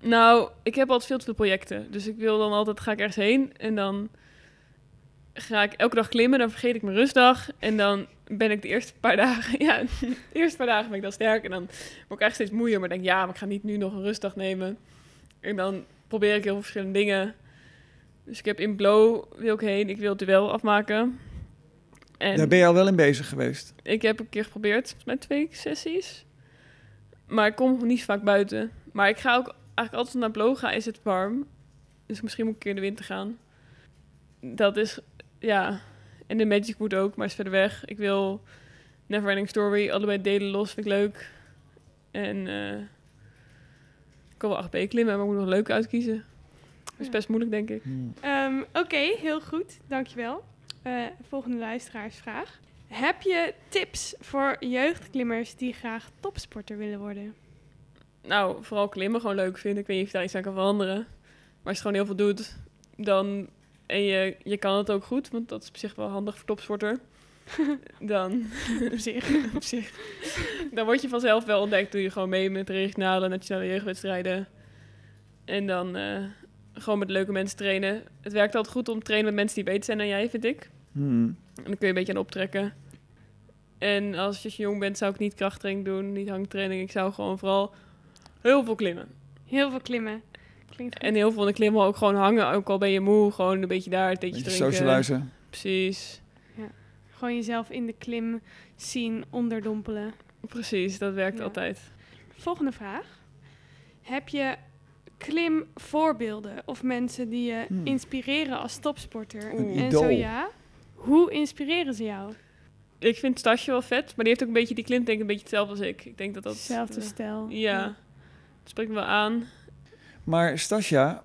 S5: Nou, ik heb altijd veel te veel projecten. Dus ik wil dan altijd, ga ik ergens heen. En dan ga ik elke dag klimmen. Dan vergeet ik mijn rustdag. En dan ben ik de eerste paar dagen... Ja, de eerste paar dagen ben ik dan sterk. En dan word ik echt steeds moeier. Maar denk, ja, maar ik ga niet nu nog een rustdag nemen. En dan probeer ik heel veel verschillende dingen. Dus ik heb in Blow wil ik heen. Ik wil het duel afmaken. En
S2: Daar ben je al wel in bezig geweest.
S5: ik heb een keer geprobeerd, volgens mij twee sessies. Maar ik kom niet zo vaak buiten. Maar ik ga ook eigenlijk altijd naar Bloga, is het warm. Dus misschien moet ik een keer in de winter gaan. Dat is, ja. En de Magic Wood ook, maar is verder weg. Ik wil Neverending Story, allebei delen los, vind ik leuk. En eh, ik kan wel 8B klimmen, maar ik moet nog leuk uitkiezen. Dat is
S6: Ja.
S5: best moeilijk, denk ik.
S2: Hmm.
S6: Ehm, Oké, heel goed. Dankjewel. Eh, volgende luisteraarsvraag. Heb je tips voor jeugdklimmers die graag topsporter willen worden?
S5: Nou, vooral klimmen gewoon leuk vind. Ik weet niet of je daar iets aan kan veranderen. Maar als je gewoon heel veel doet, dan... En je, je kan het ook goed, want dat is op zich wel handig voor topsporter. Dan,
S6: op zich.
S5: op zich, dan word je vanzelf wel ontdekt. Doe je gewoon mee met de regionale nationale jeugdwedstrijden. En dan eh, gewoon met leuke mensen trainen. Het werkt altijd goed om te trainen met mensen die beter zijn dan jij, vind ik.
S2: Hmm.
S5: En dan kun je een beetje aan optrekken. En als je jong bent, zou ik niet krachttraining doen, niet hangtraining. Ik zou gewoon vooral heel veel klimmen.
S6: Heel veel klimmen. Klinkt goed.
S5: En heel veel van de klimmen ook gewoon hangen. Ook al ben je moe, gewoon een beetje daar, een theetje
S2: Beetje
S5: drinken.
S2: socializen.
S5: Precies,
S6: Gewoon jezelf in de klim zien, onderdompelen.
S5: precies. Dat werkt
S6: Ja.
S5: altijd.
S6: Volgende vraag. Heb je klimvoorbeelden of mensen die je
S2: Hmm.
S6: inspireren als topsporter?
S2: Een
S6: En
S2: idool.
S6: zo ja, hoe inspireren ze jou?
S5: Ik vind Stasje wel vet, maar die heeft ook een beetje, die klimt denk ik een beetje hetzelfde als ik. Ik denk dat dat...
S6: Hetzelfde stijl.
S5: Ja, dat spreekt me wel aan.
S2: Maar Stasja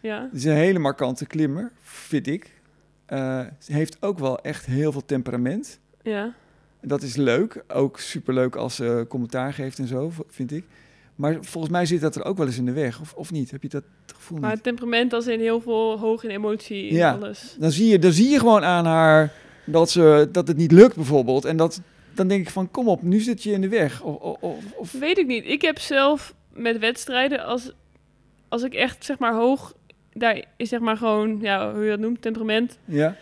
S5: Ja,
S2: is een hele markante klimmer, vind ik. Eh, ze heeft ook wel echt heel veel temperament.
S5: ja.
S2: Dat is leuk. Ook superleuk als ze commentaar geeft en zo, v- vind ik. Maar volgens mij zit dat er ook wel eens in de weg, of, of niet? Heb je dat gevoel
S5: Maar
S2: niet?
S5: het temperament als in heel veel hoog in emotie en
S2: Ja.
S5: alles.
S2: Dan zie, je, dan zie je gewoon aan haar dat, ze, dat het niet lukt, bijvoorbeeld. En dat, dan denk ik van, kom op, nu zit je in de weg. Of, of- of, of-
S5: Weet ik niet. Ik heb zelf met wedstrijden, als, als ik echt zeg maar hoog, daar is zeg maar gewoon, ja, hoe je dat noemt, temperament.
S2: ja,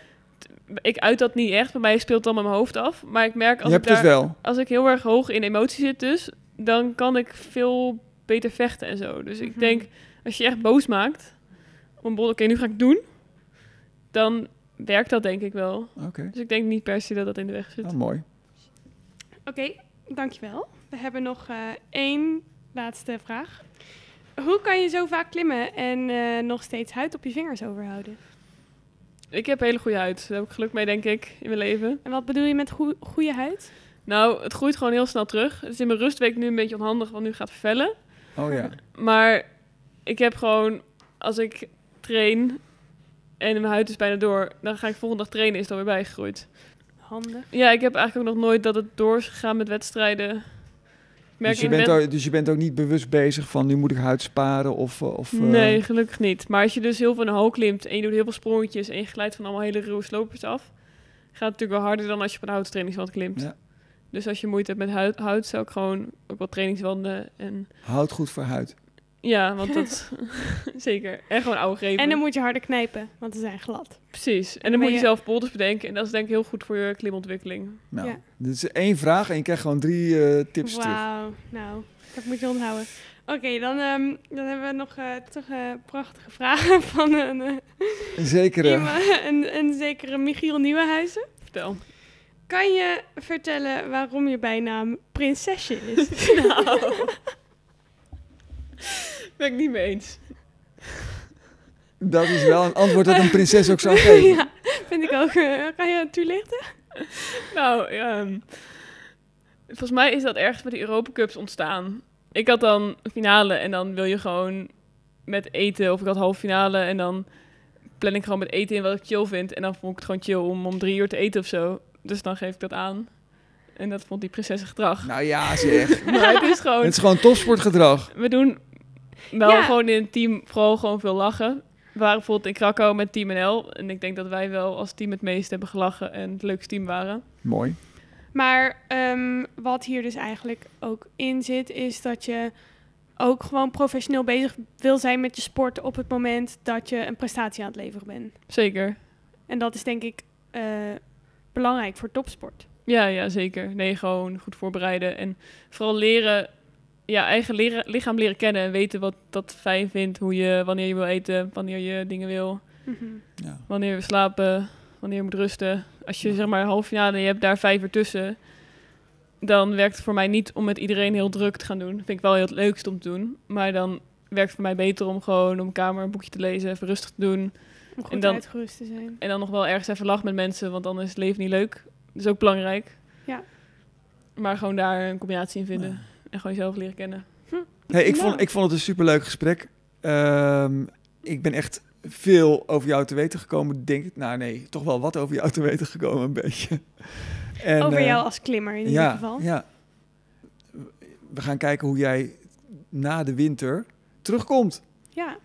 S5: Ik uit dat niet echt, bij mij speelt het allemaal in mijn hoofd af. Maar ik merk
S2: je
S5: als ik
S2: hebt dus
S5: daar...
S2: het wel.
S5: als ik heel erg hoog in emotie zit dus, dan kan ik veel beter vechten en zo. Dus ik
S6: Mhm.
S5: denk, als je je echt boos maakt, op een bol, oké, nu ga ik het doen, dan werkt dat denk ik wel.
S2: Oké,
S5: Dus ik denk niet per se dat dat in de weg zit.
S2: nou, mooi.
S6: Oké, dankjewel. We hebben nog eh, één laatste vraag. Hoe kan je zo vaak klimmen en eh, nog steeds huid op je vingers overhouden?
S5: Ik heb hele goede huid. Daar heb ik geluk mee, denk ik, in mijn leven.
S6: En wat bedoel je met goe- goede huid?
S5: Nou, het groeit gewoon heel snel terug. Het is in mijn rustweek nu een beetje onhandig, want nu gaat het vellen.
S2: Oh ja.
S5: Maar ik heb gewoon, als ik train en mijn huid is bijna door, dan ga ik volgende dag trainen, is het alweer bijgegroeid.
S6: Handig.
S5: Ja, ik heb eigenlijk ook nog nooit dat het door is gegaan met wedstrijden. Ik merk
S2: Dus je,
S5: ik
S2: bent
S5: ben-
S2: ook, dus je bent ook niet bewust bezig van nu moet ik huid sparen of... eh, of eh,
S5: Nee, gelukkig niet. Maar als je dus heel veel naar hoog klimt en je doet heel veel sprongetjes en je glijdt van allemaal hele ruwe slopers af, gaat het natuurlijk wel harder dan als je op een houten trainingswand klimt.
S2: Ja.
S5: Dus als je moeite hebt met huid, huid zou ik gewoon ook wat trainingswanden en
S2: Houd goed voor huid.
S5: ja, want dat zeker. En gewoon oude geven.
S6: En dan moet je harder knijpen, want ze zijn glad.
S5: Precies. En dan,
S6: ben
S5: moet je,
S6: je-
S5: zelf polders bedenken en dat is denk ik heel goed voor je klimontwikkeling.
S2: Nou,
S6: Ja.
S2: dit is één vraag en je krijgt gewoon drie eh, tips terug.
S6: Wauw, nou, dat moet je onthouden. Oké, dan, ehm, dan hebben we nog eh toch eh, prachtige vragen van een, eh,
S2: Een zekere...
S6: iemand- een, een zekere Michiel Nieuwenhuizen.
S5: Vertel.
S6: Kan je vertellen waarom je bijnaam prinsesje is? Nou.
S5: Ben ik niet mee eens.
S2: Dat is wel een antwoord dat een prinses ook zou geven.
S6: ja, vind ik ook. eh, kan je het toelichten?
S5: Nou, ehm, volgens mij is dat ergens bij de Europa Cups ontstaan. Ik had dan een finale en dan wil je gewoon met eten. Of ik had halve finale en dan plan ik gewoon met eten in wat ik chill vind. En dan vond ik het gewoon chill om om drie uur te eten of zo. Dus dan geef ik dat aan. En dat vond die prinsessen gedrag.
S2: Nou ja, zeg.
S6: Oh.
S5: Maar het is gewoon...
S2: Het is gewoon topsportgedrag.
S5: We doen wel
S6: Ja.
S5: gewoon in het team vooral gewoon veel lachen. We waren bijvoorbeeld in Krakau met Team NL. En ik denk dat wij wel als team het meest hebben gelachen en het leukste team waren.
S2: Mooi.
S6: Maar ehm, wat hier dus eigenlijk ook in zit, is dat je ook gewoon professioneel bezig wil zijn met je sport op het moment dat je een prestatie aan het leveren bent.
S5: Zeker.
S6: En dat is denk ik eh, belangrijk voor topsport.
S5: Ja, ja, zeker. Nee, gewoon goed voorbereiden. En vooral leren, ja, eigen leren, lichaam leren kennen. En weten wat dat fijn vindt. Hoe je, wanneer je wil eten, wanneer je dingen wil.
S6: Mhm.
S2: Ja.
S5: Wanneer je wil slapen, wanneer je moet rusten. Als je zeg maar een halve finale en je hebt daar vijf uur tussen. Dan werkt het voor mij niet om met iedereen heel druk te gaan doen. vind ik wel heel het leukst om te doen. Maar dan werkt het voor mij beter om gewoon op mijn kamer een boekje te lezen. Even rustig te doen.
S6: Om goed
S5: En dan-
S6: uitgerust te zijn.
S5: En dan nog wel ergens even lachen met mensen, want dan is het leven niet leuk. Dat is ook belangrijk.
S6: Ja.
S5: Maar gewoon daar een combinatie in vinden. En gewoon jezelf leren kennen.
S2: Hey, ik,
S6: Nou.
S2: vond, ik vond het een superleuk gesprek. Ehm, ik ben echt veel over jou te weten gekomen, denk ik. Nou nee, toch wel wat over jou te weten gekomen, een beetje. En,
S6: Over
S2: eh,
S6: jou als klimmer in ieder
S2: ja,
S6: geval.
S2: Ja. We gaan kijken hoe jij na de winter terugkomt.
S6: Ja.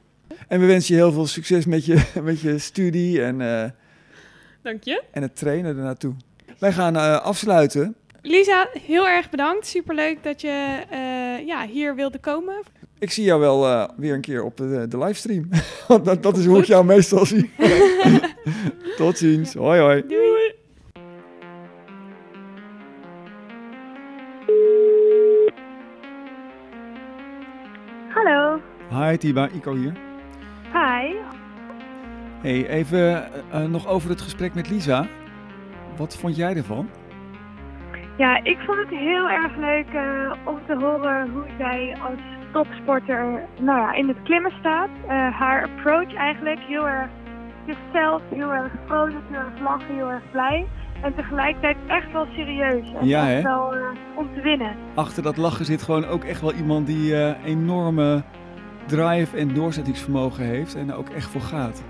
S2: En we wensen je heel veel succes met je, met je studie en, eh,
S5: Dank je.
S2: en het trainen ernaartoe. Wij gaan eh, afsluiten.
S6: Lisa, heel erg bedankt. Superleuk dat je eh, ja, hier wilde komen.
S2: Ik zie jou wel eh, weer een keer op de, de livestream. Want dat, dat is hoe ik jou meestal zie. Tot ziens. Hoi hoi.
S6: Doei.
S4: Hallo.
S2: Hi Tiba, Ico hier.
S4: Hi.
S2: Hey, even eh, eh, nog over het gesprek met Lisa. Wat vond jij ervan?
S4: Ja, ik vond het heel erg leuk eh, om te horen hoe zij als topsporter nou ja, in het klimmen staat. Eh, haar approach eigenlijk heel erg gesteld, heel erg vrolijk, heel erg lachen, heel erg blij. En tegelijkertijd echt wel serieus. En
S2: Ja,
S4: echt
S2: hè?
S4: wel eh, om te winnen.
S2: Achter dat lachen zit gewoon ook echt wel iemand die eh, enorme drive en doorzettingsvermogen heeft en er ook echt voor gaat.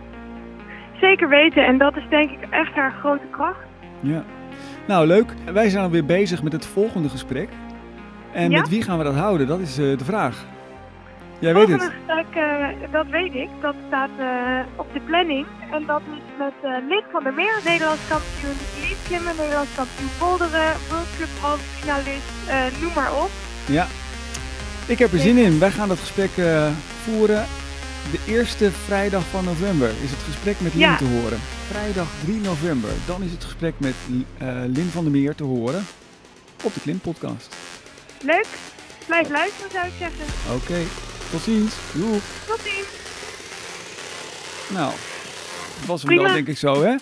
S4: Zeker weten. En dat is denk ik echt haar grote kracht.
S2: Ja. Nou, leuk. Wij zijn alweer bezig met het volgende gesprek. En
S4: Ja?
S2: met wie gaan we dat houden? Dat is eh, de vraag. Jij weet
S4: Volgende
S2: het.
S4: gesprek, eh, dat weet ik, dat staat eh, op de planning. En dat is met eh Lid van der Meer, Nederlands kampioen leadklimmen, Nederlands kampioen polderen, World Cup halve finalist, eh, noem maar op.
S2: Ja. Ik heb er zin in. Wij gaan dat gesprek eh, voeren. De eerste vrijdag van november is het gesprek met Lin
S4: Ja.
S2: te horen. Vrijdag 3 november. Dan is het gesprek met eh, Lin van der Meer te horen op de Klim podcast.
S4: Leuk, blijf luisteren zou ik zeggen.
S2: Oké, tot ziens. Doei.
S4: Tot ziens.
S2: Nou, dat was hem
S4: Prima.
S2: dan denk ik zo, hè?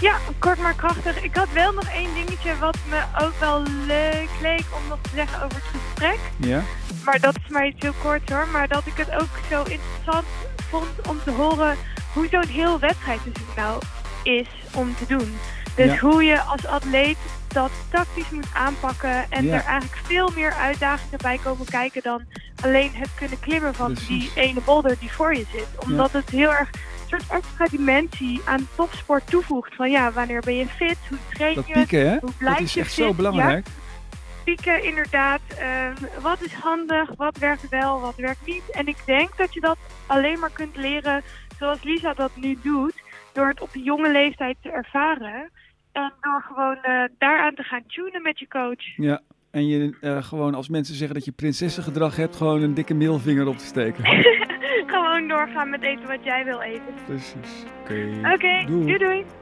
S4: Ja, kort maar krachtig. Ik had wel nog één dingetje wat me ook wel leuk leek om nog te zeggen over het gesprek. gesprek.
S2: Ja?
S4: Maar dat is maar iets heel kort hoor. Maar dat ik het ook zo interessant vond om te horen hoe zo'n heel wedstrijdseizoen nou is om te doen. Dus
S2: Ja.
S4: hoe je als atleet dat tactisch moet aanpakken en
S2: Ja.
S4: er eigenlijk veel meer uitdagingen bij komen kijken dan alleen het kunnen klimmen van
S2: Precies.
S4: die ene bolder die voor je zit. Omdat het heel erg een soort extra dimensie aan topsport toevoegt. Van ja, wanneer ben je fit? Hoe train
S2: Dat
S4: je?
S2: pieken, hè?
S4: hoe blijf
S2: Dat is
S4: je
S2: echt
S4: fit?
S2: zo
S4: Ja,
S2: belangrijk.
S4: pieken inderdaad. ehm, wat is handig, wat werkt wel, wat werkt niet. En ik denk dat je dat alleen maar kunt leren zoals Lisa dat nu doet. Door het op jonge leeftijd te ervaren. En door gewoon eh, daaraan te gaan tunen met je coach.
S2: Ja. En je eh, gewoon als mensen zeggen dat je prinsessengedrag hebt, gewoon een dikke middelvinger op te steken.
S4: gewoon doorgaan met eten wat jij wil eten.
S2: Precies. Oké.
S4: Oké, doei doei.